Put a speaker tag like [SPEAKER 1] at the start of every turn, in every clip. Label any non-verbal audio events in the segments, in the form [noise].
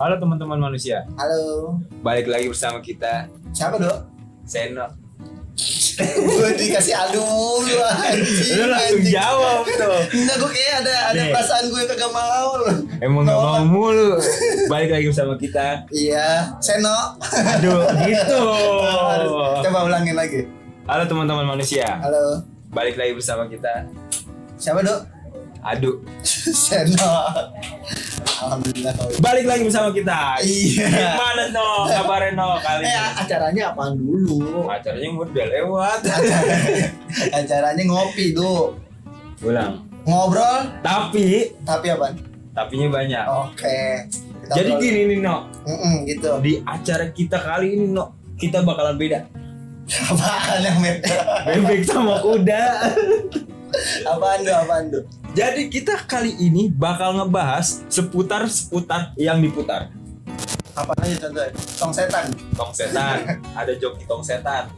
[SPEAKER 1] Halo teman-teman manusia,
[SPEAKER 2] Halo,
[SPEAKER 1] balik lagi bersama kita
[SPEAKER 2] siapa dok? [laughs]
[SPEAKER 1] Seno.
[SPEAKER 2] gue dikasih aduh,
[SPEAKER 1] [laughs]
[SPEAKER 2] lu anjing.
[SPEAKER 1] Lu langsung
[SPEAKER 2] anjing.
[SPEAKER 1] jawab tuh.
[SPEAKER 2] Enggak, gue kayak ada ada
[SPEAKER 1] Nih.
[SPEAKER 2] perasaan gue kagak mau.
[SPEAKER 1] Emang gak mau mulu. Balik lagi bersama kita.
[SPEAKER 2] Iya, Seno.
[SPEAKER 1] Aduh, gitu.
[SPEAKER 2] [laughs] Harus- Coba ulangin lagi.
[SPEAKER 1] Halo teman-teman manusia,
[SPEAKER 2] Halo,
[SPEAKER 1] balik lagi bersama kita.
[SPEAKER 2] siapa dok? [laughs]
[SPEAKER 1] Aduh,
[SPEAKER 2] Seno. Alhamdulillah. kalau-
[SPEAKER 1] balik lagi bersama kita.
[SPEAKER 2] Iya.
[SPEAKER 1] Gimana no? Kabarnya no kali
[SPEAKER 2] Eh,
[SPEAKER 1] ini?
[SPEAKER 2] acaranya apaan dulu? [laughs]
[SPEAKER 1] Acaranya udah lewat.
[SPEAKER 2] acaranya ngopi, dok.
[SPEAKER 1] Ulang.
[SPEAKER 2] Ngobrol,
[SPEAKER 1] Tapi,
[SPEAKER 2] tapi apaan?
[SPEAKER 1] tapinya banyak.
[SPEAKER 2] Oke. Kita
[SPEAKER 1] Jadi
[SPEAKER 2] ngobrol.
[SPEAKER 1] gini nih no,
[SPEAKER 2] Mm-mm, gitu.
[SPEAKER 1] di acara kita kali ini no, kita bakalan beda.
[SPEAKER 2] Apaan yang [laughs] beda?
[SPEAKER 1] Bebek sama kuda.
[SPEAKER 2] Apaan dok? Apaan dok?
[SPEAKER 1] Jadi kita kali ini bakal ngebahas seputar-seputar yang diputar.
[SPEAKER 2] Apaan aja contohnya? Tong setan.
[SPEAKER 1] Tong setan, ada joki tong setan.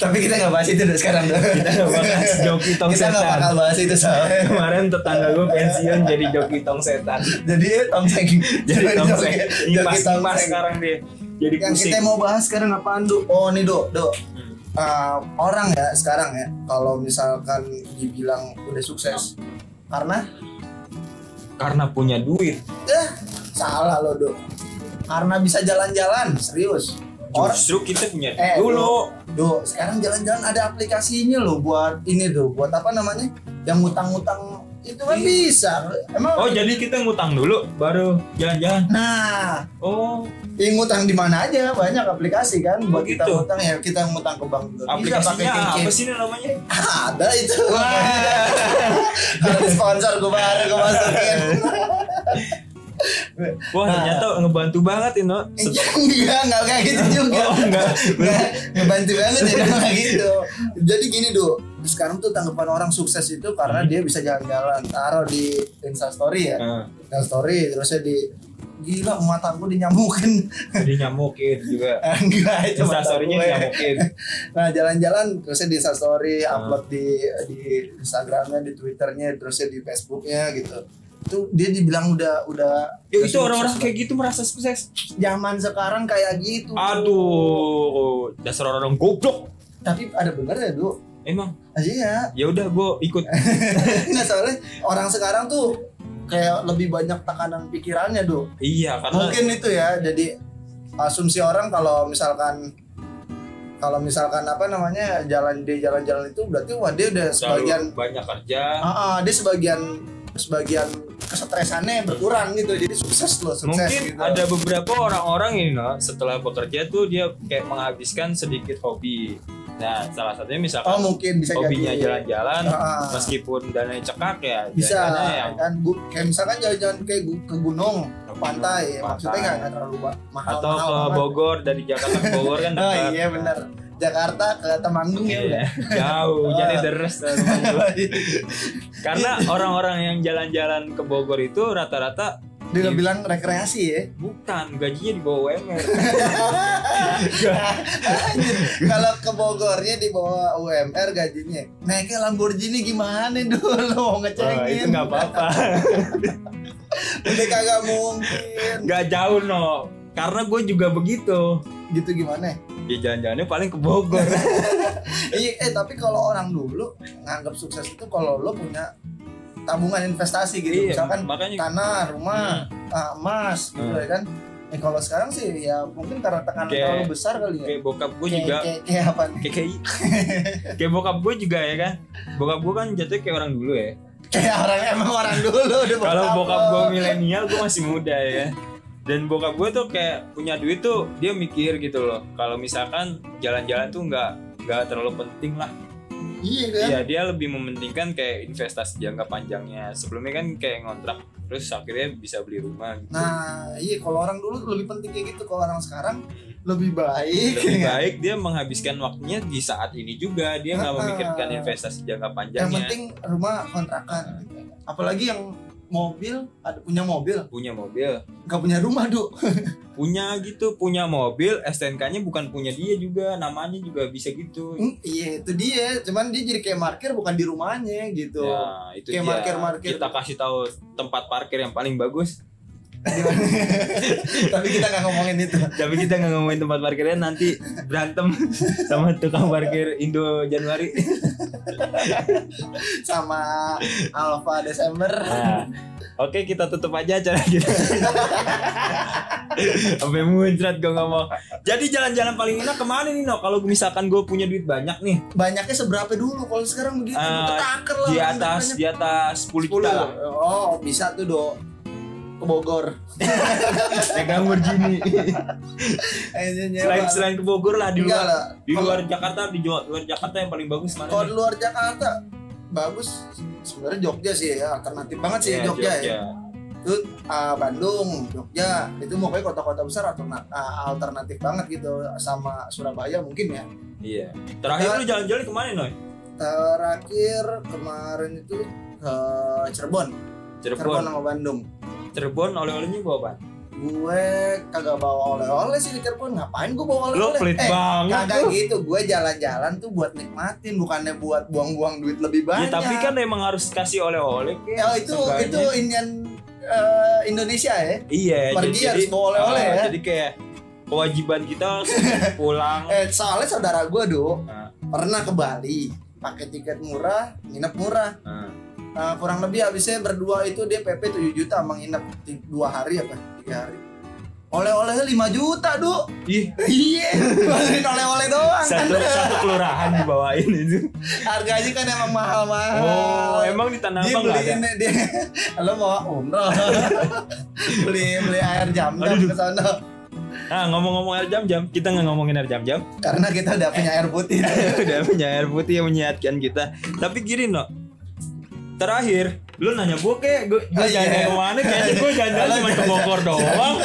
[SPEAKER 2] Tapi kita nggak bahas itu dulu sekarang dong.
[SPEAKER 1] Kita nggak bahas joki tong
[SPEAKER 2] Kita nggak
[SPEAKER 1] setan.
[SPEAKER 2] bakal bahas itu soalnya.
[SPEAKER 1] Kemarin tetangga gue pensiun jadi joki tong setan.
[SPEAKER 2] Jadi eh, tongseng.
[SPEAKER 1] Jadi tong setan. Impas
[SPEAKER 2] tongseng.
[SPEAKER 1] impas sekarang dia. Jadi
[SPEAKER 2] Yang
[SPEAKER 1] pusing.
[SPEAKER 2] kita mau bahas sekarang apaan dok? Oh nih dok, dok.
[SPEAKER 1] Hmm.
[SPEAKER 2] Eh, orang ya sekarang ya kalau misalkan dibilang udah sukses karena
[SPEAKER 1] Karena punya duit.
[SPEAKER 2] eh salah lo dok karena bisa jalan-jalan serius orang
[SPEAKER 1] Justru kita punya duit
[SPEAKER 2] Eh,
[SPEAKER 1] dulu.
[SPEAKER 2] Duh, sekarang jalan-jalan ada aplikasinya loh buat ini tuh, buat apa namanya? Yang ngutang-ngutang itu kan bisa. Emang
[SPEAKER 1] Iya.
[SPEAKER 2] iya?
[SPEAKER 1] Oh jadi kita ngutang dulu, baru jalan-jalan.
[SPEAKER 2] Nah,
[SPEAKER 1] Oh
[SPEAKER 2] yang ngutang di mana aja banyak aplikasi kan
[SPEAKER 1] Oh,
[SPEAKER 2] buat kita
[SPEAKER 1] gitu.
[SPEAKER 2] ngutang ya kita ngutang ke bank juga. Bisa pakai
[SPEAKER 1] aplikasinya apa
[SPEAKER 2] kredit.
[SPEAKER 1] sih ini namanya?
[SPEAKER 2] Ada itu. [laughs]
[SPEAKER 1] Wah.
[SPEAKER 2] Ada sponsor gue baru gue
[SPEAKER 1] [laughs]
[SPEAKER 2] masukin.
[SPEAKER 1] Wah
[SPEAKER 2] Nah. Iya.
[SPEAKER 1] ternyata ngebantu banget ini.
[SPEAKER 2] Enggak, enggak kayak gitu juga.
[SPEAKER 1] Oh, enggak.
[SPEAKER 2] Enggak, ngebantu banget ya enggak gitu. Jadi gini, Duk. Sekarang tuh tanggapan orang sukses itu karena
[SPEAKER 1] Hmm.
[SPEAKER 2] dia bisa jalan-jalan, taruh di Insta story ya.
[SPEAKER 1] Eh,
[SPEAKER 2] Insta story terusnya di gila mata gue dinyamukin.
[SPEAKER 1] Jadi nyamukin juga.
[SPEAKER 2] [laughs] enggak, itu mata
[SPEAKER 1] Instastorynya
[SPEAKER 2] gue.
[SPEAKER 1] nggak mungkin.
[SPEAKER 2] Nah, jalan-jalan terusnya di Insta story,
[SPEAKER 1] Ah.
[SPEAKER 2] upload di di Instagramnya, di Twitternya, terusnya di Facebooknya gitu. Itu dia dibilang udah udah
[SPEAKER 1] Ya,
[SPEAKER 2] udah
[SPEAKER 1] itu orang-orang
[SPEAKER 2] sukses.
[SPEAKER 1] kayak gitu merasa sukses.
[SPEAKER 2] zaman sekarang kayak gitu.
[SPEAKER 1] Aduh, dasar orang-orang goblok.
[SPEAKER 2] tapi ada ya, benernya dulu
[SPEAKER 1] Emang
[SPEAKER 2] aja ya [laughs]
[SPEAKER 1] ya udah gue ikut.
[SPEAKER 2] nggak Nah, soalnya orang sekarang tuh kayak lebih banyak tekanan pikirannya dulu
[SPEAKER 1] [laughs] iya, karena
[SPEAKER 2] mungkin itu ya jadi asumsi orang kalau misalkan kalau misalkan apa namanya jalan di jalan-jalan itu berarti wah dia udah
[SPEAKER 1] terlalu
[SPEAKER 2] sebagian
[SPEAKER 1] banyak kerja.
[SPEAKER 2] ah ah, dia sebagian sebagian kesetresannya berkurang gitu jadi sukses loh sukses
[SPEAKER 1] Mungkin
[SPEAKER 2] gitu.
[SPEAKER 1] ada beberapa orang-orang ini no, setelah bekerja tuh dia kayak menghabiskan sedikit hobi. Nah, salah satunya
[SPEAKER 2] oh
[SPEAKER 1] misalkan
[SPEAKER 2] mungkin bisa
[SPEAKER 1] hobinya
[SPEAKER 2] jadi
[SPEAKER 1] jalan-jalan
[SPEAKER 2] Ah, ah.
[SPEAKER 1] meskipun dananya cekak ya
[SPEAKER 2] bisa
[SPEAKER 1] jalannya yang
[SPEAKER 2] kan gu- kayak misalkan jalan-jalan kayak gu- ke gunung pantai, maksudnya nggak nggak terlalu mahal
[SPEAKER 1] atau ke Bogor dari Jakarta ke Bogor kan
[SPEAKER 2] [laughs] oh
[SPEAKER 1] dekat.
[SPEAKER 2] iya benar Jakarta ke Temanggung ya
[SPEAKER 1] Iya,
[SPEAKER 2] udah
[SPEAKER 1] jauh
[SPEAKER 2] Ah.
[SPEAKER 1] jadi deres Iya. karena orang-orang yang jalan-jalan ke Bogor itu rata-rata
[SPEAKER 2] [laughs] dia bilang rekreasi
[SPEAKER 1] [laughs]
[SPEAKER 2] ya
[SPEAKER 1] bukan gajinya di bawah UMR
[SPEAKER 2] kalau ke Bogornya di bawah UMR gajinya naiknya Lamborghini gimana dulu mau ngecengin
[SPEAKER 1] Wah, Oh, itu nggak apa-apa
[SPEAKER 2] udah kagak mungkin
[SPEAKER 1] nggak jauh no karena gue juga begitu
[SPEAKER 2] gitu gimana
[SPEAKER 1] ya jalan-jalannya paling ke [laughs] Bogor
[SPEAKER 2] iya eh tapi kalau orang dulu nganggap sukses itu kalau lo punya tabungan investasi
[SPEAKER 1] Iya,
[SPEAKER 2] gitu misalkan
[SPEAKER 1] makanya
[SPEAKER 2] tanah, rumah, ah, emas gitu
[SPEAKER 1] Hmm.
[SPEAKER 2] ya kan. Eh kalau sekarang sih ya mungkin karena tekanan
[SPEAKER 1] Kayak-
[SPEAKER 2] terlalu besar kali ya.
[SPEAKER 1] kayak bokap gue
[SPEAKER 2] Kayak-
[SPEAKER 1] juga
[SPEAKER 2] kayak, kayak apa nih? [laughs]
[SPEAKER 1] kayak kayak, [laughs] kayak bokap gue juga ya kan bokap gue kan jatuhnya kayak orang dulu ya
[SPEAKER 2] Kayak orang emang orang dulu udah
[SPEAKER 1] Kalau bokap
[SPEAKER 2] lo.
[SPEAKER 1] gue milenial, gue masih muda ya. Dan bokap gue tuh kayak punya duit tuh dia mikir gitu loh. Kalau misalkan jalan-jalan tuh nggak nggak terlalu penting lah.
[SPEAKER 2] Iya kan?
[SPEAKER 1] Iya dia lebih mementingkan kayak investasi jangka panjangnya. Sebelumnya kan kayak ngontrak, terus akhirnya bisa beli rumah. Gitu.
[SPEAKER 2] Nah, iya kalau orang dulu lebih penting kayak gitu kalau orang sekarang lebih baik. ya kan?
[SPEAKER 1] lebih baik dia menghabiskan waktunya di saat ini juga dia nggak
[SPEAKER 2] Ah.
[SPEAKER 1] memikirkan investasi jangka
[SPEAKER 2] Yang
[SPEAKER 1] panjangnya.
[SPEAKER 2] penting rumah kontrakan. gitu. Apalagi yang mobil ada punya mobil
[SPEAKER 1] punya mobil,
[SPEAKER 2] nggak punya rumah duk
[SPEAKER 1] punya gitu, punya mobil, STNK-nya bukan punya dia juga, namanya juga bisa gitu.
[SPEAKER 2] Hmm, iya itu dia cuman dia jadi kayak markir bukan di rumahnya gitu
[SPEAKER 1] Ya, itu
[SPEAKER 2] Kayak
[SPEAKER 1] dia.
[SPEAKER 2] markir-markir.
[SPEAKER 1] Kita kasih tahu tempat parkir yang paling bagus.
[SPEAKER 2] [laughs] tapi kita nggak ngomongin itu
[SPEAKER 1] Tapi kita nggak ngomongin tempat parkirnya nanti berantem [laughs] sama tukang parkir Indo Januari.
[SPEAKER 2] sama Alfa Desember
[SPEAKER 1] Nah, Oke kita tutup aja acara kita. Sampai muncrat gue ngomong. Jadi jalan-jalan paling enak kemana nih Nok? Kalau misalkan gue punya duit banyak nih
[SPEAKER 2] banyaknya seberapa dulu kalau sekarang begitu
[SPEAKER 1] Eh,
[SPEAKER 2] ketaker lah
[SPEAKER 1] di
[SPEAKER 2] orang
[SPEAKER 1] atas
[SPEAKER 2] banyak.
[SPEAKER 1] di atas 10 juta lah.
[SPEAKER 2] 10. oh bisa tuh do ke Bogor
[SPEAKER 1] Pegang
[SPEAKER 2] [laughs]
[SPEAKER 1] Lamborghini.
[SPEAKER 2] Iya,
[SPEAKER 1] selain
[SPEAKER 2] selain
[SPEAKER 1] selain ke Bogor lah di
[SPEAKER 2] Eh, enggak
[SPEAKER 1] luar
[SPEAKER 2] lah
[SPEAKER 1] di luar Jakarta di Jawa- luar Jakarta yang paling bagus
[SPEAKER 2] kalau
[SPEAKER 1] mana?
[SPEAKER 2] di
[SPEAKER 1] nih?
[SPEAKER 2] luar Jakarta bagus sebenarnya Jogja sih ya alternatif banget sih
[SPEAKER 1] Iya,
[SPEAKER 2] Jogja, ya itu ah, Bandung Jogja itu mau kayak kota-kota besar alterna- ah, alternatif banget gitu sama Surabaya mungkin ya
[SPEAKER 1] Iya. Terakhir
[SPEAKER 2] Nah.
[SPEAKER 1] lu jalan-jalan kemana Noy?
[SPEAKER 2] terakhir kemarin itu ke Cirebon Cirebon
[SPEAKER 1] Cirebon.
[SPEAKER 2] sama Bandung
[SPEAKER 1] Cirebon oleh-olehnya gua apa?
[SPEAKER 2] gue kagak bawa oleh-oleh sih ke Cirebon ngapain gue
[SPEAKER 1] Lu
[SPEAKER 2] bawa oleh-oleh Eh,
[SPEAKER 1] pelit banget
[SPEAKER 2] kagak
[SPEAKER 1] lu.
[SPEAKER 2] gitu gue jalan-jalan tuh buat nikmatin bukannya buat buang-buang duit lebih
[SPEAKER 1] Ya
[SPEAKER 2] banyak
[SPEAKER 1] tapi kan emang harus kasih oleh-oleh. Ki.
[SPEAKER 2] ya itu
[SPEAKER 1] Seenggaknya.
[SPEAKER 2] itu Indian eh, Indonesia ya
[SPEAKER 1] Iya,
[SPEAKER 2] pergi harus bawa oleh-oleh
[SPEAKER 1] Ah,
[SPEAKER 2] ya
[SPEAKER 1] Jadi kayak kewajiban kita
[SPEAKER 2] [laughs]
[SPEAKER 1] harus pulang.
[SPEAKER 2] eh soalnya saudara gue do
[SPEAKER 1] Ah.
[SPEAKER 2] pernah ke Bali pakai tiket murah nginep murah
[SPEAKER 1] Ah,
[SPEAKER 2] Eh, kurang lebih habisnya berdua itu DPP 7 juta emang nginep Ti- dua hari apa tiga hari oleh-olehnya 5 juta do
[SPEAKER 1] Ih,
[SPEAKER 2] [laughs] iya balik oleh-oleh doang kan
[SPEAKER 1] satu satu kelurahan dibawain itu.
[SPEAKER 2] harganya kan emang mahal-mahal
[SPEAKER 1] Oh, emang di Tanah
[SPEAKER 2] Ah, dia
[SPEAKER 1] Abang nggak ada.
[SPEAKER 2] beliin dia [laughs] lo mau umroh beli beli air jam jam
[SPEAKER 1] Aduh.
[SPEAKER 2] ke sana
[SPEAKER 1] Nah, ngomong-ngomong air jam-jam, kita nggak ngomongin air jam-jam. [laughs]
[SPEAKER 2] karena kita udah punya air putih
[SPEAKER 1] Udah punya air putih yang menyehatkan kita. Tapi gini, no. Terakhir, lu nanya gue kayak gue
[SPEAKER 2] Oh, iya.
[SPEAKER 1] jalan kemana? Kayaknya gue jalan-jalan
[SPEAKER 2] Lo
[SPEAKER 1] cuma ke Bogor doang.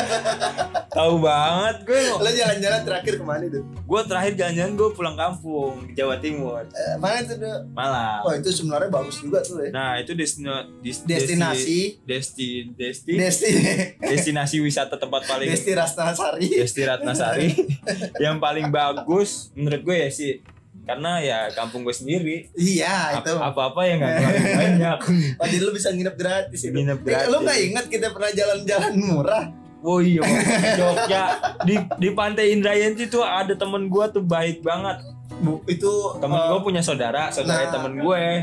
[SPEAKER 1] Tahu banget gue.
[SPEAKER 2] lo jalan-jalan terakhir kemana itu
[SPEAKER 1] Gue terakhir jalan-jalan gue pulang kampung ke Jawa Timur,
[SPEAKER 2] Eh, mana itu Do?
[SPEAKER 1] Malam.
[SPEAKER 2] oh itu sebenarnya bagus juga tuh ya
[SPEAKER 1] Nah itu destina, dis-
[SPEAKER 2] destinasi
[SPEAKER 1] desti, desti,
[SPEAKER 2] desti
[SPEAKER 1] destinasi wisata tempat paling
[SPEAKER 2] desti Rastasari
[SPEAKER 1] Desti
[SPEAKER 2] [laughs]
[SPEAKER 1] Ratnasari yang paling bagus menurut gue ya sih karena ya kampung gue sendiri
[SPEAKER 2] iya
[SPEAKER 1] ap-
[SPEAKER 2] itu
[SPEAKER 1] apa-apa yang nggak terlalu banyak
[SPEAKER 2] Oh, jadi lu bisa nginep gratis itu.
[SPEAKER 1] Nginep
[SPEAKER 2] Eh, lu
[SPEAKER 1] gratis.
[SPEAKER 2] nggak ingat kita pernah jalan-jalan murah?
[SPEAKER 1] oh iya Bang. Jogja di di Pantai Indrayanti tuh ada temen gue tuh baik banget
[SPEAKER 2] Bu, itu
[SPEAKER 1] temen
[SPEAKER 2] eh,
[SPEAKER 1] gue punya saudara saudara
[SPEAKER 2] Nah.
[SPEAKER 1] temen gue
[SPEAKER 2] eh,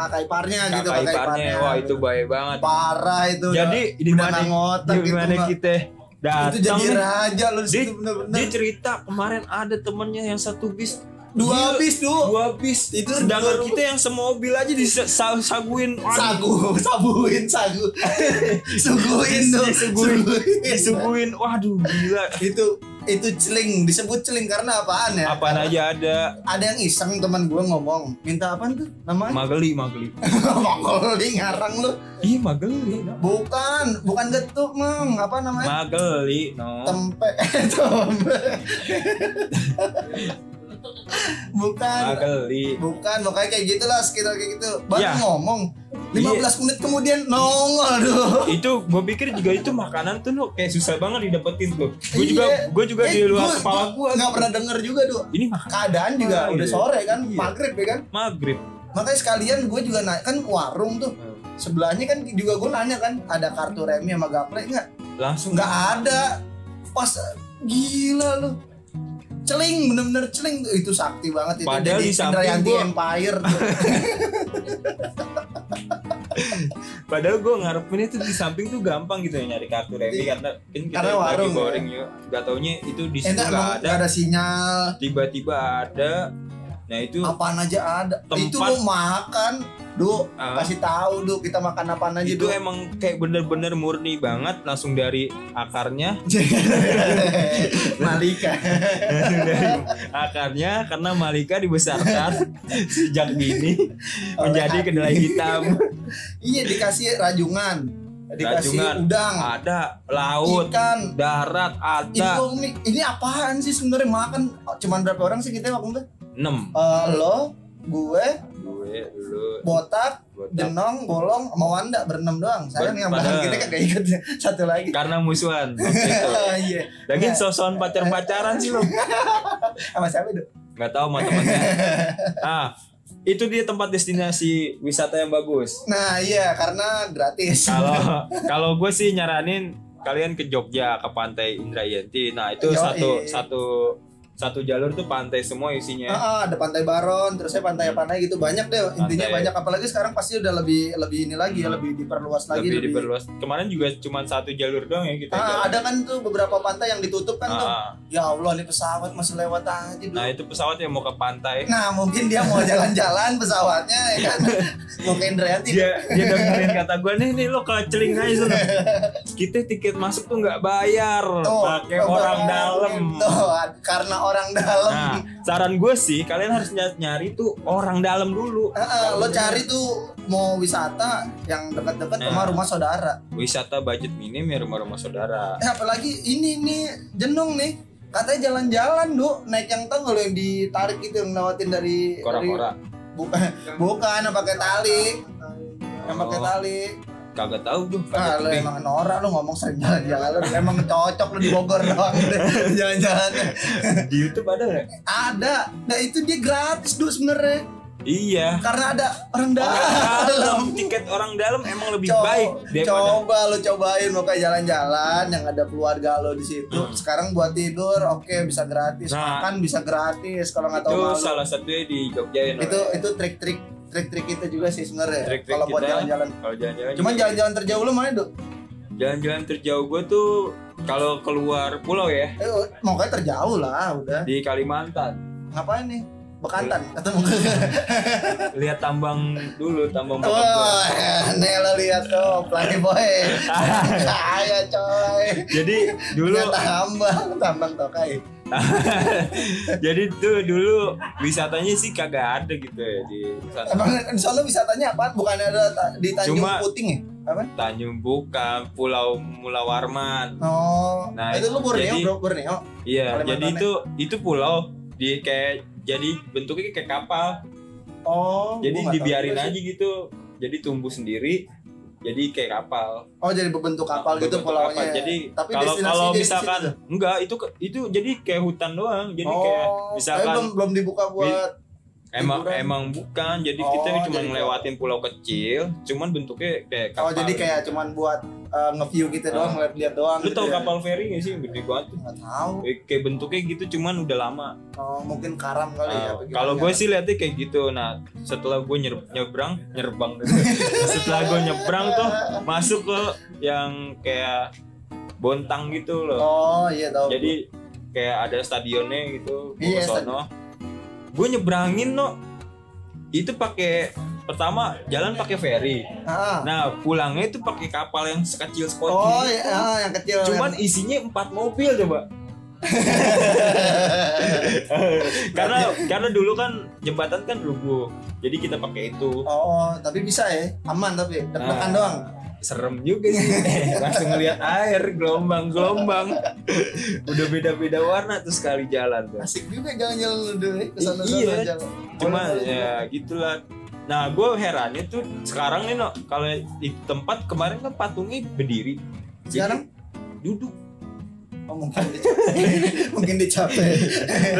[SPEAKER 2] kakak iparnya gitu,
[SPEAKER 1] kakak iparnya wah itu baik banget
[SPEAKER 2] parah itu.
[SPEAKER 1] jadi di
[SPEAKER 2] udah
[SPEAKER 1] mana
[SPEAKER 2] nggak ngotak
[SPEAKER 1] di
[SPEAKER 2] gitu,
[SPEAKER 1] mana
[SPEAKER 2] Mbak.
[SPEAKER 1] kita
[SPEAKER 2] itu jadi
[SPEAKER 1] datang
[SPEAKER 2] raja lu di
[SPEAKER 1] Dia-
[SPEAKER 2] situ bener-bener.
[SPEAKER 1] dia cerita kemarin ada temennya yang satu bis Gila.
[SPEAKER 2] Dua bis tuh.
[SPEAKER 1] "Iya, dua bis
[SPEAKER 2] Itu
[SPEAKER 1] itu
[SPEAKER 2] dua-
[SPEAKER 1] sedangkan kita yang semobil aja disaguin
[SPEAKER 2] Sagu, [laughs] sabuin
[SPEAKER 1] [laughs]
[SPEAKER 2] sagu. Suguin tuh,
[SPEAKER 1] Disuguhin.
[SPEAKER 2] Suguin.
[SPEAKER 1] disuguin waduh gila
[SPEAKER 2] Itu itu celing, disebut celing karena apaan ya?
[SPEAKER 1] apaan aja ada
[SPEAKER 2] Ada yang iseng teman gue ngomong, minta apaan tuh namanya?
[SPEAKER 1] mageli mageli
[SPEAKER 2] [laughs] Mongol di ngarang lu.
[SPEAKER 1] ih mageli no.
[SPEAKER 2] Bukan, bukan getuk, Mang. Apa namanya?
[SPEAKER 1] mageli no
[SPEAKER 2] Tempe.
[SPEAKER 1] [laughs]
[SPEAKER 2] [laughs] Tempe. bukan.
[SPEAKER 1] mageli
[SPEAKER 2] Bukan, pokoknya kayak gitulah sekitar kayak gitu. Baru
[SPEAKER 1] Ya.
[SPEAKER 2] ngomong 15 menit kemudian nongol aduh.
[SPEAKER 1] itu gue pikir juga itu makanan tuh no, kayak susah banget didapetin tuh gue
[SPEAKER 2] Iya.
[SPEAKER 1] juga gue juga
[SPEAKER 2] Eh,
[SPEAKER 1] di luar
[SPEAKER 2] gua-
[SPEAKER 1] kepala
[SPEAKER 2] gua
[SPEAKER 1] gue
[SPEAKER 2] nggak pernah denger juga, Duh.
[SPEAKER 1] ini makan
[SPEAKER 2] Keadaan juga
[SPEAKER 1] Ah,
[SPEAKER 2] udah
[SPEAKER 1] iya.
[SPEAKER 2] sore kan,
[SPEAKER 1] Iya.
[SPEAKER 2] maghrib ya kan.
[SPEAKER 1] maghrib
[SPEAKER 2] Makanya sekalian gue juga naik kan warung tuh. Sebelahnya kan juga gue nanya kan, ada kartu remi sama gaple nggak?
[SPEAKER 1] langsung
[SPEAKER 2] nggak ada pas gila lu celing bener-bener celing itu sakti banget itu
[SPEAKER 1] Padahal
[SPEAKER 2] Jadi
[SPEAKER 1] di samping
[SPEAKER 2] Indrayanti
[SPEAKER 1] gua-
[SPEAKER 2] Empire
[SPEAKER 1] [laughs]
[SPEAKER 2] tuh.
[SPEAKER 1] Padahal gue ngarepin itu di samping tuh gampang gitu ya nyari kartu remi
[SPEAKER 2] Iya.
[SPEAKER 1] karena kan kita
[SPEAKER 2] Karena
[SPEAKER 1] lagi
[SPEAKER 2] warung,
[SPEAKER 1] boring ya. Gak taunya itu di situ
[SPEAKER 2] entah
[SPEAKER 1] nggak
[SPEAKER 2] emang
[SPEAKER 1] ada,
[SPEAKER 2] nggak ada sinyal
[SPEAKER 1] tiba-tiba ada. Nah itu
[SPEAKER 2] apaan aja ada
[SPEAKER 1] Tempat-
[SPEAKER 2] itu lu makan du
[SPEAKER 1] ah,
[SPEAKER 2] kasih tahu du kita makan apaan aja
[SPEAKER 1] itu
[SPEAKER 2] du
[SPEAKER 1] emang kayak bener-bener murni banget langsung dari
[SPEAKER 2] [laughs]
[SPEAKER 1] akarnya,
[SPEAKER 2] [laughs] Malika
[SPEAKER 1] langsung dari akarnya karena Malika
[SPEAKER 2] [laughs]
[SPEAKER 1] dibesarkan sejak dini menjadi
[SPEAKER 2] hati.
[SPEAKER 1] kedelai
[SPEAKER 2] [laughs]
[SPEAKER 1] hitam.
[SPEAKER 2] iya dikasih rajungan dikasih
[SPEAKER 1] Rajungan.
[SPEAKER 2] udang
[SPEAKER 1] Ada laut, Nah.
[SPEAKER 2] ikan
[SPEAKER 1] darat, ada
[SPEAKER 2] Indomie ini apaan sih sebenarnya makan cuman berapa orang sih kita waktu itu
[SPEAKER 1] enam.
[SPEAKER 2] Eh, lo gue
[SPEAKER 1] Gue, lu,
[SPEAKER 2] botak
[SPEAKER 1] botak.
[SPEAKER 2] Denong, Bolong, sama Wanda berenam doang. Saya yang
[SPEAKER 1] Pada-
[SPEAKER 2] belakang kita kagak ikut [laughs] satu lagi.
[SPEAKER 1] karena musuhan. waktu itu.
[SPEAKER 2] [laughs] Iya.
[SPEAKER 1] Lagian sosokan pacar-pacaran sih lu.
[SPEAKER 2] Sama siapa itu? [laughs]
[SPEAKER 1] nggak tahu mah temannya ah itu dia tempat destinasi wisata yang bagus.
[SPEAKER 2] Nah iya karena gratis.
[SPEAKER 1] Kalau kalau gue sih nyaranin kalian ke Jogja ke Pantai Indrayanti. Nah itu
[SPEAKER 2] Yoi.
[SPEAKER 1] satu satu satu jalur tuh pantai semua isinya.
[SPEAKER 2] Ah, ada pantai Baron, terus saya pantai apa lagi gitu banyak deh.
[SPEAKER 1] Iya.
[SPEAKER 2] Intinya
[SPEAKER 1] Hmm. Pantai. Hmm.
[SPEAKER 2] banyak apalagi sekarang pasti udah lebih lebih ini lagi ya, lebih diperluas lagi.
[SPEAKER 1] lebih, diperluas. Kemarin juga cuma satu jalur doang ya kita.
[SPEAKER 2] Ah,
[SPEAKER 1] jalan.
[SPEAKER 2] ada kan tuh beberapa pantai yang ditutup kan tuh.
[SPEAKER 1] Ah,
[SPEAKER 2] Ya Allah, ini pesawat masih lewat aja dulu.
[SPEAKER 1] nah itu pesawat yang mau ke pantai.
[SPEAKER 2] Nah, mungkin dia
[SPEAKER 1] [laughs]
[SPEAKER 2] mau jalan-jalan pesawatnya ya kan. mau ke Indrayanti.
[SPEAKER 1] dia dia dengerin kata gue nih nih lo keceling aja sana. kita tiket masuk tuh nggak bayar
[SPEAKER 2] Tuh,
[SPEAKER 1] pakai
[SPEAKER 2] tuh,
[SPEAKER 1] orang
[SPEAKER 2] bayangin
[SPEAKER 1] dalam
[SPEAKER 2] Tuh, karena orang dalam.
[SPEAKER 1] nah saran gue sih kalian harus nyari, nyari tuh orang dalam dulu
[SPEAKER 2] Ah, ah, lo cari tuh mau wisata yang dekat-dekat sama
[SPEAKER 1] Nah.
[SPEAKER 2] rumah saudara.
[SPEAKER 1] wisata budget minim ya rumah-rumah saudara
[SPEAKER 2] Eh apalagi ini nih jenong nih katanya jalan-jalan du naik yang tanggul yang ditarik gitu yang lewatin dari
[SPEAKER 1] kora-kora
[SPEAKER 2] dari- bu- [laughs] bukan yang pakai tali yang pakai
[SPEAKER 1] Oh.
[SPEAKER 2] tali
[SPEAKER 1] kagak tahu tuh
[SPEAKER 2] ah
[SPEAKER 1] budget
[SPEAKER 2] lu
[SPEAKER 1] minim.
[SPEAKER 2] emang norak lu ngomong sering jalan-jalan emang cocok lu di Bogor
[SPEAKER 1] [laughs]
[SPEAKER 2] doang deh, jalan-jalan
[SPEAKER 1] di YouTube ada nggak
[SPEAKER 2] ada nah itu dia gratis du sebenarnya
[SPEAKER 1] iya
[SPEAKER 2] karena ada orang
[SPEAKER 1] orang dalam
[SPEAKER 2] dalam
[SPEAKER 1] tiket orang dalam emang lebih
[SPEAKER 2] Coba-
[SPEAKER 1] baik daripada
[SPEAKER 2] coba lo cobain mau kayak jalan-jalan yang ada keluarga lo di situ
[SPEAKER 1] Hmm.
[SPEAKER 2] sekarang buat tidur oke bisa gratis
[SPEAKER 1] Nah.
[SPEAKER 2] makan bisa gratis kalau nggak tahu
[SPEAKER 1] itu
[SPEAKER 2] malu
[SPEAKER 1] salah satunya di Jogja ya
[SPEAKER 2] itu
[SPEAKER 1] namanya.
[SPEAKER 2] itu trik-trik trik-trik kita juga sih sebenarnya
[SPEAKER 1] Trik-trik
[SPEAKER 2] kalau buat
[SPEAKER 1] kita.
[SPEAKER 2] jalan-jalan
[SPEAKER 1] kalau jalan-jalan
[SPEAKER 2] cuman
[SPEAKER 1] juga.
[SPEAKER 2] jalan-jalan terjauh lo mana dok
[SPEAKER 1] jalan-jalan terjauh gue tuh kalau keluar pulau ya
[SPEAKER 2] eh, mau kayak terjauh lah udah
[SPEAKER 1] di Kalimantan
[SPEAKER 2] ngapain nih bekantan ketemu
[SPEAKER 1] [laughs] lihat tambang dulu tambang bokap gua.
[SPEAKER 2] wah nih lo lihat tuh pelangi
[SPEAKER 1] [laughs]
[SPEAKER 2] boy kaya coy
[SPEAKER 1] jadi dulu
[SPEAKER 2] dulu tambang tambang tokai
[SPEAKER 1] jadi tuh dulu wisatanya sih kagak ada gitu ya di sana.
[SPEAKER 2] Emang insya Allah wisatanya apaan? Bukannya ada ta- di Tanjung
[SPEAKER 1] Cuma-
[SPEAKER 2] Puting ya? Apa?
[SPEAKER 1] Tanjung Bukan Pulau Mula Warman
[SPEAKER 2] Oh,
[SPEAKER 1] Nah,
[SPEAKER 2] itu lu Borneo,
[SPEAKER 1] jadi-
[SPEAKER 2] bro, Borneo.
[SPEAKER 1] iya
[SPEAKER 2] Kalimantan ya?
[SPEAKER 1] jadi itu itu pulau di kayak jadi bentuknya kayak kapal
[SPEAKER 2] Oh,
[SPEAKER 1] jadi
[SPEAKER 2] gua nggak
[SPEAKER 1] dibiarin
[SPEAKER 2] tahu
[SPEAKER 1] aja
[SPEAKER 2] juga sih.
[SPEAKER 1] gitu jadi tumbuh sendiri jadi kayak kapal
[SPEAKER 2] Oh, jadi berbentuk kapal
[SPEAKER 1] Bentuk
[SPEAKER 2] gitu pulaunya.
[SPEAKER 1] kapal. jadi
[SPEAKER 2] Tapi
[SPEAKER 1] kalau
[SPEAKER 2] destinasi
[SPEAKER 1] kalau
[SPEAKER 2] dia di
[SPEAKER 1] misalkan
[SPEAKER 2] situ.
[SPEAKER 1] enggak itu ke- itu jadi kayak hutan doang jadi
[SPEAKER 2] oh,
[SPEAKER 1] kayak
[SPEAKER 2] tapi
[SPEAKER 1] misalkan-
[SPEAKER 2] belum, belum dibuka buat oh,
[SPEAKER 1] Emang
[SPEAKER 2] Liburan.
[SPEAKER 1] emang bukan. Jadi
[SPEAKER 2] Oh,
[SPEAKER 1] kita cuma
[SPEAKER 2] jadi-
[SPEAKER 1] ngelewatin pulau kecil, cuman bentuknya kayak kapal.
[SPEAKER 2] Oh, jadi kayak cuman buat eh, nge-view gitu
[SPEAKER 1] Ah.
[SPEAKER 2] doang, ngeliat-liat doang.
[SPEAKER 1] Lu
[SPEAKER 2] gitu
[SPEAKER 1] tau
[SPEAKER 2] ya.
[SPEAKER 1] kapal feri gak sih yang gede banget? tuh?
[SPEAKER 2] Nggak tahu.
[SPEAKER 1] Eh, Kayak bentuknya gitu cuman udah lama.
[SPEAKER 2] Oh, mungkin karam kali ya.
[SPEAKER 1] Nah,
[SPEAKER 2] apa gimana.
[SPEAKER 1] kalau gue sih liatnya kayak gitu. Nah, setelah gue nyer- nyebrang, nyerbang
[SPEAKER 2] [laughs]
[SPEAKER 1] gitu. setelah gue nyebrang tuh masuk ke yang kayak bontang gitu loh.
[SPEAKER 2] Oh, iya tahu.
[SPEAKER 1] Jadi kayak ada stadionnya gitu, gue
[SPEAKER 2] Iya,
[SPEAKER 1] ke sono. Gue nyebrangin no. Itu pakai pertama jalan pakai feri.
[SPEAKER 2] Ah.
[SPEAKER 1] Nah, pulangnya itu pakai kapal yang sekecil sekocil.
[SPEAKER 2] Oh, iya, ah, yang kecil.
[SPEAKER 1] Cuman isinya empat mobil coba. karena karena dulu kan jembatan kan rubuh. Jadi kita pakai itu.
[SPEAKER 2] [laughs] Oh, tapi bisa ya. Aman tapi deg-degan
[SPEAKER 1] Ah.
[SPEAKER 2] doang.
[SPEAKER 1] Serem juga
[SPEAKER 2] [laughs]
[SPEAKER 1] sih. Langsung ngeliat air gelombang-gelombang. Udah beda-beda warna tuh sekali jalan tuh.
[SPEAKER 2] Asik juga jalan-jalan lu dulu ya, kesana
[SPEAKER 1] Iya,
[SPEAKER 2] sana jalan.
[SPEAKER 1] Cuma
[SPEAKER 2] Boleh,
[SPEAKER 1] ya gitulah. Nah, gue herannya tuh sekarang nih, no, kalau di tempat kemarin kan patungnya berdiri.
[SPEAKER 2] boleh. sekarang
[SPEAKER 1] Jadi duduk.
[SPEAKER 2] oh, mungkin
[SPEAKER 1] [laughs]
[SPEAKER 2] dicapek. mungkin dicapek.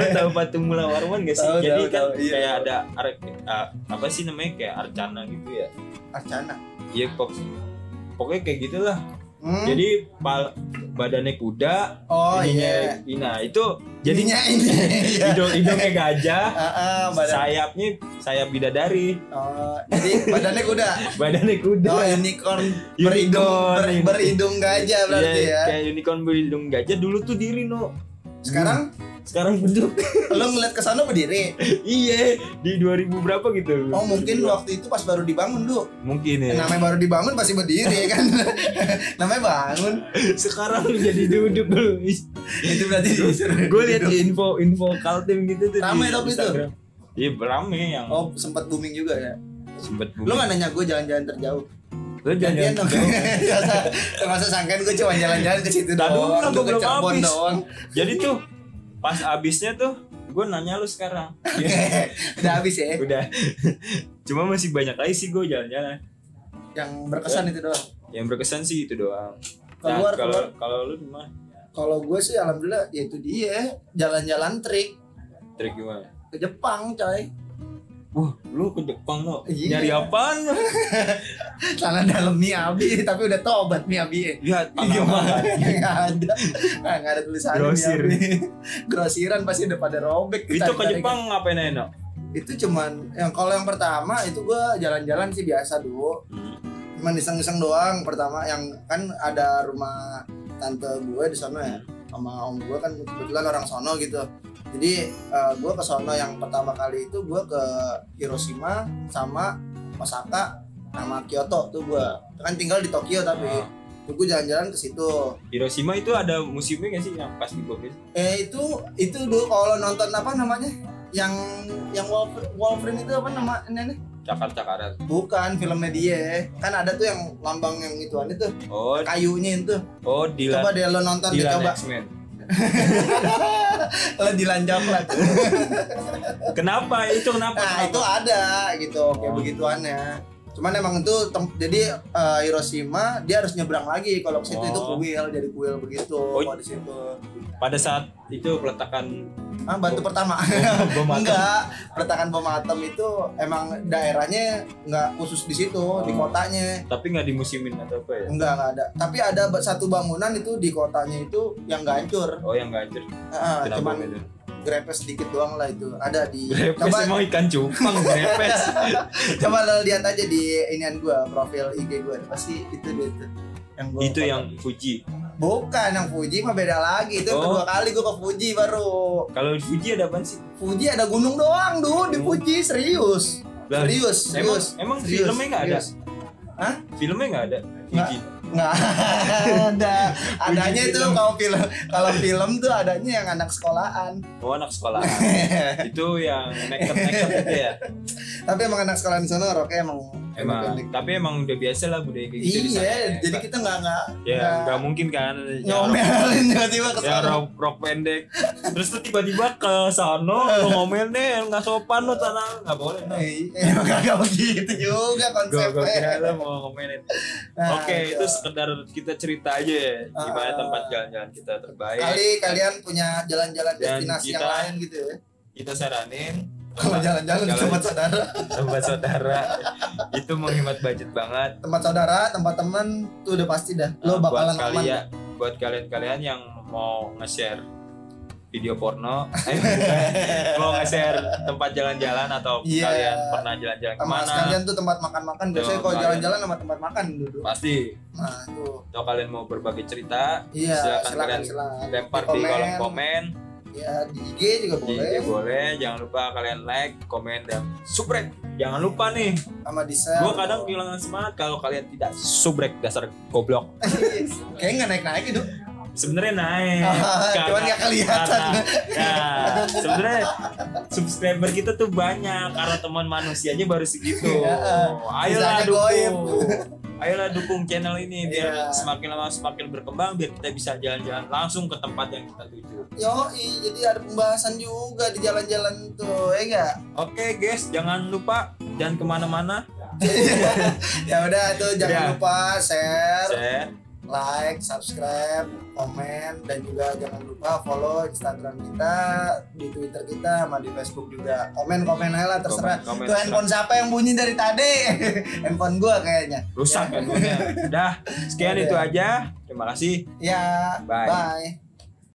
[SPEAKER 1] Lo tahu patung mula warman gak sih?
[SPEAKER 2] Tahu,
[SPEAKER 1] Jadi
[SPEAKER 2] tahu,
[SPEAKER 1] kan
[SPEAKER 2] tahu. Iya,
[SPEAKER 1] kayak
[SPEAKER 2] tahu.
[SPEAKER 1] ada ar- ah, apa sih namanya kayak arcana gitu ya?
[SPEAKER 2] Arcana.
[SPEAKER 1] Iya pok pokoknya kayak gitulah.
[SPEAKER 2] Hmm?
[SPEAKER 1] Jadi pal- badannya kuda,
[SPEAKER 2] oh
[SPEAKER 1] ininya
[SPEAKER 2] iya.
[SPEAKER 1] nah itu jadi
[SPEAKER 2] Ininya ini. Iya.
[SPEAKER 1] [laughs] hidung hidungnya gajah,
[SPEAKER 2] Ah, ah, [laughs] badan.
[SPEAKER 1] sayapnya sayap bidadari,
[SPEAKER 2] Oh, jadi badannya kuda.
[SPEAKER 1] badannya kuda.
[SPEAKER 2] Oh, unicorn berhidung ber-
[SPEAKER 1] Unicorn.
[SPEAKER 2] berhidung gajah berarti
[SPEAKER 1] Iya,
[SPEAKER 2] ya.
[SPEAKER 1] Kayak unicorn berhidung gajah dulu tuh diri no.
[SPEAKER 2] Sekarang
[SPEAKER 1] Sekarang beduk.
[SPEAKER 2] lo ngeliat ke sana berdiri.
[SPEAKER 1] [laughs] iya, di 2000 berapa gitu.
[SPEAKER 2] Oh, mungkin waktu itu pas baru dibangun, Du.
[SPEAKER 1] mungkin ya. [laughs]
[SPEAKER 2] Namanya baru dibangun pasti berdiri kan. [laughs] Namanya bangun.
[SPEAKER 1] Sekarang jadi duduk dulu.
[SPEAKER 2] Itu berarti
[SPEAKER 1] [laughs] gue lihat di info info kaltim gitu tuh di
[SPEAKER 2] Rame tapi itu.
[SPEAKER 1] Instagram. iya rame yang
[SPEAKER 2] Oh, sempat booming juga ya.
[SPEAKER 1] sempet
[SPEAKER 2] Lu gak nanya gue jalan-jalan terjauh.
[SPEAKER 1] lu jangan
[SPEAKER 2] Gantian dong. [laughs] Masa masa sangkan gue cuma jalan-jalan ke situ
[SPEAKER 1] Tadi lu
[SPEAKER 2] doang.
[SPEAKER 1] bilang
[SPEAKER 2] Gue
[SPEAKER 1] gua
[SPEAKER 2] ke
[SPEAKER 1] belum
[SPEAKER 2] Cirebon
[SPEAKER 1] habis.
[SPEAKER 2] doang.
[SPEAKER 1] [laughs]
[SPEAKER 2] [laughs]
[SPEAKER 1] jadi tuh pas abisnya tuh gue nanya lu sekarang
[SPEAKER 2] Udah habis ya.
[SPEAKER 1] [laughs] udah [laughs] cuma masih banyak lagi sih gue jalan-jalan
[SPEAKER 2] Yang berkesan itu doang.
[SPEAKER 1] yang berkesan sih itu doang Nah,
[SPEAKER 2] Keluar
[SPEAKER 1] kalau
[SPEAKER 2] keluar.
[SPEAKER 1] kalau lu gimana
[SPEAKER 2] Kalau gue sih alhamdulillah ya itu dia jalan-jalan trik
[SPEAKER 1] trik gimana
[SPEAKER 2] ke Jepang coy.
[SPEAKER 1] Wah, lu ke Jepang lo
[SPEAKER 2] Iya.
[SPEAKER 1] nyari apaan? lo?"
[SPEAKER 2] Tanah dalam Miabi tapi udah tobat Miabi. [laughs]
[SPEAKER 1] Ya,
[SPEAKER 2] Iya
[SPEAKER 1] tanaman.
[SPEAKER 2] nggak ada, nah, nggak ada tulisan
[SPEAKER 1] Grosir.
[SPEAKER 2] Grosiran pasti udah pada robek.
[SPEAKER 1] Itu ke
[SPEAKER 2] Tarik-tarik.
[SPEAKER 1] Jepang ngapain aja, no?
[SPEAKER 2] Itu cuman yang kalau yang pertama itu gua jalan-jalan sih biasa dulu, cuman iseng-iseng doang. Pertama yang kan ada rumah tante gue di sana ya sama om gue kan kebetulan orang sono gitu jadi eh, gua gue ke sono yang pertama kali itu gue ke Hiroshima sama Osaka sama Kyoto tuh gue kan tinggal di Tokyo tapi
[SPEAKER 1] Ah.
[SPEAKER 2] tuh gue jalan-jalan ke situ
[SPEAKER 1] Hiroshima itu ada museumnya gak sih yang pas di Bogor?
[SPEAKER 2] eh itu itu dulu kalau nonton apa namanya yang yang Wolf- Wolverine itu apa nama ini
[SPEAKER 1] Cakar-cakaran.
[SPEAKER 2] bukan filmnya dia kan ada tuh yang lambang yang ituan itu
[SPEAKER 1] Oh,
[SPEAKER 2] kayunya itu
[SPEAKER 1] oh Dylan.
[SPEAKER 2] coba deh lo nonton deh
[SPEAKER 1] Dylan
[SPEAKER 2] coba
[SPEAKER 1] X-Men.
[SPEAKER 2] lo dilanjang
[SPEAKER 1] [laughs]
[SPEAKER 2] lah
[SPEAKER 1] Kenapa? Itu kenapa?
[SPEAKER 2] Nah
[SPEAKER 1] Kenapa?
[SPEAKER 2] itu ada gitu kayak
[SPEAKER 1] Oh.
[SPEAKER 2] begituannya. Cuman emang itu tem- jadi eh, Hiroshima dia harus nyebrang lagi kalau ke situ itu
[SPEAKER 1] Oh.
[SPEAKER 2] kuil jadi kuil begitu
[SPEAKER 1] Oh.
[SPEAKER 2] kalau di situ.
[SPEAKER 1] Pada saat itu peletakan
[SPEAKER 2] Ah bantu
[SPEAKER 1] Oh.
[SPEAKER 2] pertama.
[SPEAKER 1] bom atom.
[SPEAKER 2] [laughs] enggak, peletakan bom atom itu emang daerahnya enggak khusus di situ,
[SPEAKER 1] Oh.
[SPEAKER 2] di kotanya.
[SPEAKER 1] Tapi nggak di museumin atau apa ya?
[SPEAKER 2] Enggak, enggak ada. Tapi ada ba- satu bangunan itu di kotanya itu yang nggak hancur.
[SPEAKER 1] Oh yang nggak hancur.
[SPEAKER 2] Ah,
[SPEAKER 1] Kenapa
[SPEAKER 2] cuman
[SPEAKER 1] itu?
[SPEAKER 2] grepes sedikit doang lah itu. Ada di
[SPEAKER 1] Grepes
[SPEAKER 2] coba
[SPEAKER 1] emang ikan
[SPEAKER 2] [laughs]
[SPEAKER 1] cupang grepes.
[SPEAKER 2] coba lo lihat aja di inian gua profil IG gua pasti itu dia tuh yang gua
[SPEAKER 1] itu yang Fuji.
[SPEAKER 2] bukan yang Fuji mah beda lagi itu
[SPEAKER 1] Oh.
[SPEAKER 2] kedua kali gua ke Fuji baru
[SPEAKER 1] Kalau di Fuji ada apa sih?
[SPEAKER 2] Fuji ada gunung doang duh di Fuji serius
[SPEAKER 1] Oh. Lah,
[SPEAKER 2] serius
[SPEAKER 1] Emang
[SPEAKER 2] serius
[SPEAKER 1] emang
[SPEAKER 2] serius,
[SPEAKER 1] filmnya nggak ada?
[SPEAKER 2] serius. Hah?
[SPEAKER 1] Filmnya nggak ada. Fuji.
[SPEAKER 2] nggak ada adanya itu
[SPEAKER 1] film.
[SPEAKER 2] kalau film kalau film tuh adanya yang anak sekolahan
[SPEAKER 1] Oh anak
[SPEAKER 2] [laughs]
[SPEAKER 1] sekolah. itu yang naked naked itu ya.
[SPEAKER 2] tapi emang anak sekolahan di sana roknya emang
[SPEAKER 1] Emang. Tapi emang udah biasa lah budaya kayak gitu di sana.
[SPEAKER 2] iya jadi
[SPEAKER 1] Nggak-
[SPEAKER 2] kita nggak nggak
[SPEAKER 1] ya nggak mungkin kan. Ya,
[SPEAKER 2] ngomelin tiba-tiba ke
[SPEAKER 1] ya
[SPEAKER 2] sana
[SPEAKER 1] rok, rok pendek terus tuh tiba-tiba ke sono lo ngomel deh nggak sopan lo sana nggak boleh no.
[SPEAKER 2] Eh, emang kagak begitu
[SPEAKER 1] Gak
[SPEAKER 2] juga
[SPEAKER 1] gak
[SPEAKER 2] konsepnya.
[SPEAKER 1] iya. kira lo mau ngomelin
[SPEAKER 2] Nah,
[SPEAKER 1] Oke, itu sekedar kita cerita aja ya, gimana
[SPEAKER 2] Ah.
[SPEAKER 1] tempat jalan-jalan kita terbaik.
[SPEAKER 2] Kali kalian punya jalan-jalan
[SPEAKER 1] Dan
[SPEAKER 2] destinasi yang
[SPEAKER 1] kita-
[SPEAKER 2] lain gitu ya.
[SPEAKER 1] Kita saranin
[SPEAKER 2] Kalau jalan-jalan di
[SPEAKER 1] jalan-
[SPEAKER 2] tempat saudara,
[SPEAKER 1] tempat saudara itu menghemat budget banget.
[SPEAKER 2] tempat saudara, tempat teman tuh udah pasti dah. Lo
[SPEAKER 1] Nah,
[SPEAKER 2] bakalan
[SPEAKER 1] buat
[SPEAKER 2] aman.
[SPEAKER 1] kalian, buat kalian-kalian yang mau nge-share video porno, [laughs] eh, bukan. mau nge-share tempat jalan-jalan atau
[SPEAKER 2] Iya.
[SPEAKER 1] kalian pernah jalan-jalan
[SPEAKER 2] Sama
[SPEAKER 1] kemana?
[SPEAKER 2] sekalian tuh tempat makan-makan biasanya
[SPEAKER 1] Tuh,
[SPEAKER 2] kalau
[SPEAKER 1] kalian.
[SPEAKER 2] jalan-jalan sama tempat makan duduk.
[SPEAKER 1] Pasti.
[SPEAKER 2] Nah, tuh.
[SPEAKER 1] Kalau kalian mau berbagi cerita,
[SPEAKER 2] Iya,
[SPEAKER 1] Silakan
[SPEAKER 2] silakan
[SPEAKER 1] kalian
[SPEAKER 2] silakan.
[SPEAKER 1] lempar di kolom komen.
[SPEAKER 2] Ya, di IG juga
[SPEAKER 1] Di
[SPEAKER 2] boleh.
[SPEAKER 1] IG boleh. Jangan lupa kalian like, komen, dan subrek. Jangan lupa nih
[SPEAKER 2] Sama di share.
[SPEAKER 1] Gue kadang kehilangan semangat kalau kalian tidak subrek dasar goblok.
[SPEAKER 2] Kayaknya nggak naik-naik
[SPEAKER 1] [laughs]
[SPEAKER 2] itu.
[SPEAKER 1] Sebenarnya naik.
[SPEAKER 2] Ah, Cuman nggak kelihatan.
[SPEAKER 1] karena-
[SPEAKER 2] [laughs]
[SPEAKER 1] Nah, sebenarnya subscriber kita tuh banyak karena teman manusianya baru
[SPEAKER 2] [laughs]
[SPEAKER 1] segitu.
[SPEAKER 2] Iya,
[SPEAKER 1] Ayolah
[SPEAKER 2] bisanya
[SPEAKER 1] dukung.
[SPEAKER 2] goib.
[SPEAKER 1] Ayolah dukung channel ini biar
[SPEAKER 2] Iya.
[SPEAKER 1] semakin lama semakin berkembang biar kita bisa jalan-jalan langsung ke tempat yang kita tuju.
[SPEAKER 2] Yoi, jadi ada pembahasan juga di jalan-jalan tuh, ya enggak?
[SPEAKER 1] Oke guys, jangan lupa jangan kemana-mana.
[SPEAKER 2] ya udah tuh jangan
[SPEAKER 1] Udah.
[SPEAKER 2] lupa share,
[SPEAKER 1] Saya
[SPEAKER 2] like, subscribe, komen dan juga jangan lupa follow Instagram kita, di Twitter kita sama di Facebook juga. Komen-komen aja lah terserah.
[SPEAKER 1] komen, komen,
[SPEAKER 2] Tuh handphone siapa yang bunyi dari tadi? [laughs] handphone gua kayaknya. Iya.
[SPEAKER 1] rusak handphonenya. Udah, sekian
[SPEAKER 2] Udah.
[SPEAKER 1] itu aja. Terima kasih.
[SPEAKER 2] Ya,
[SPEAKER 1] Bye.
[SPEAKER 2] bye.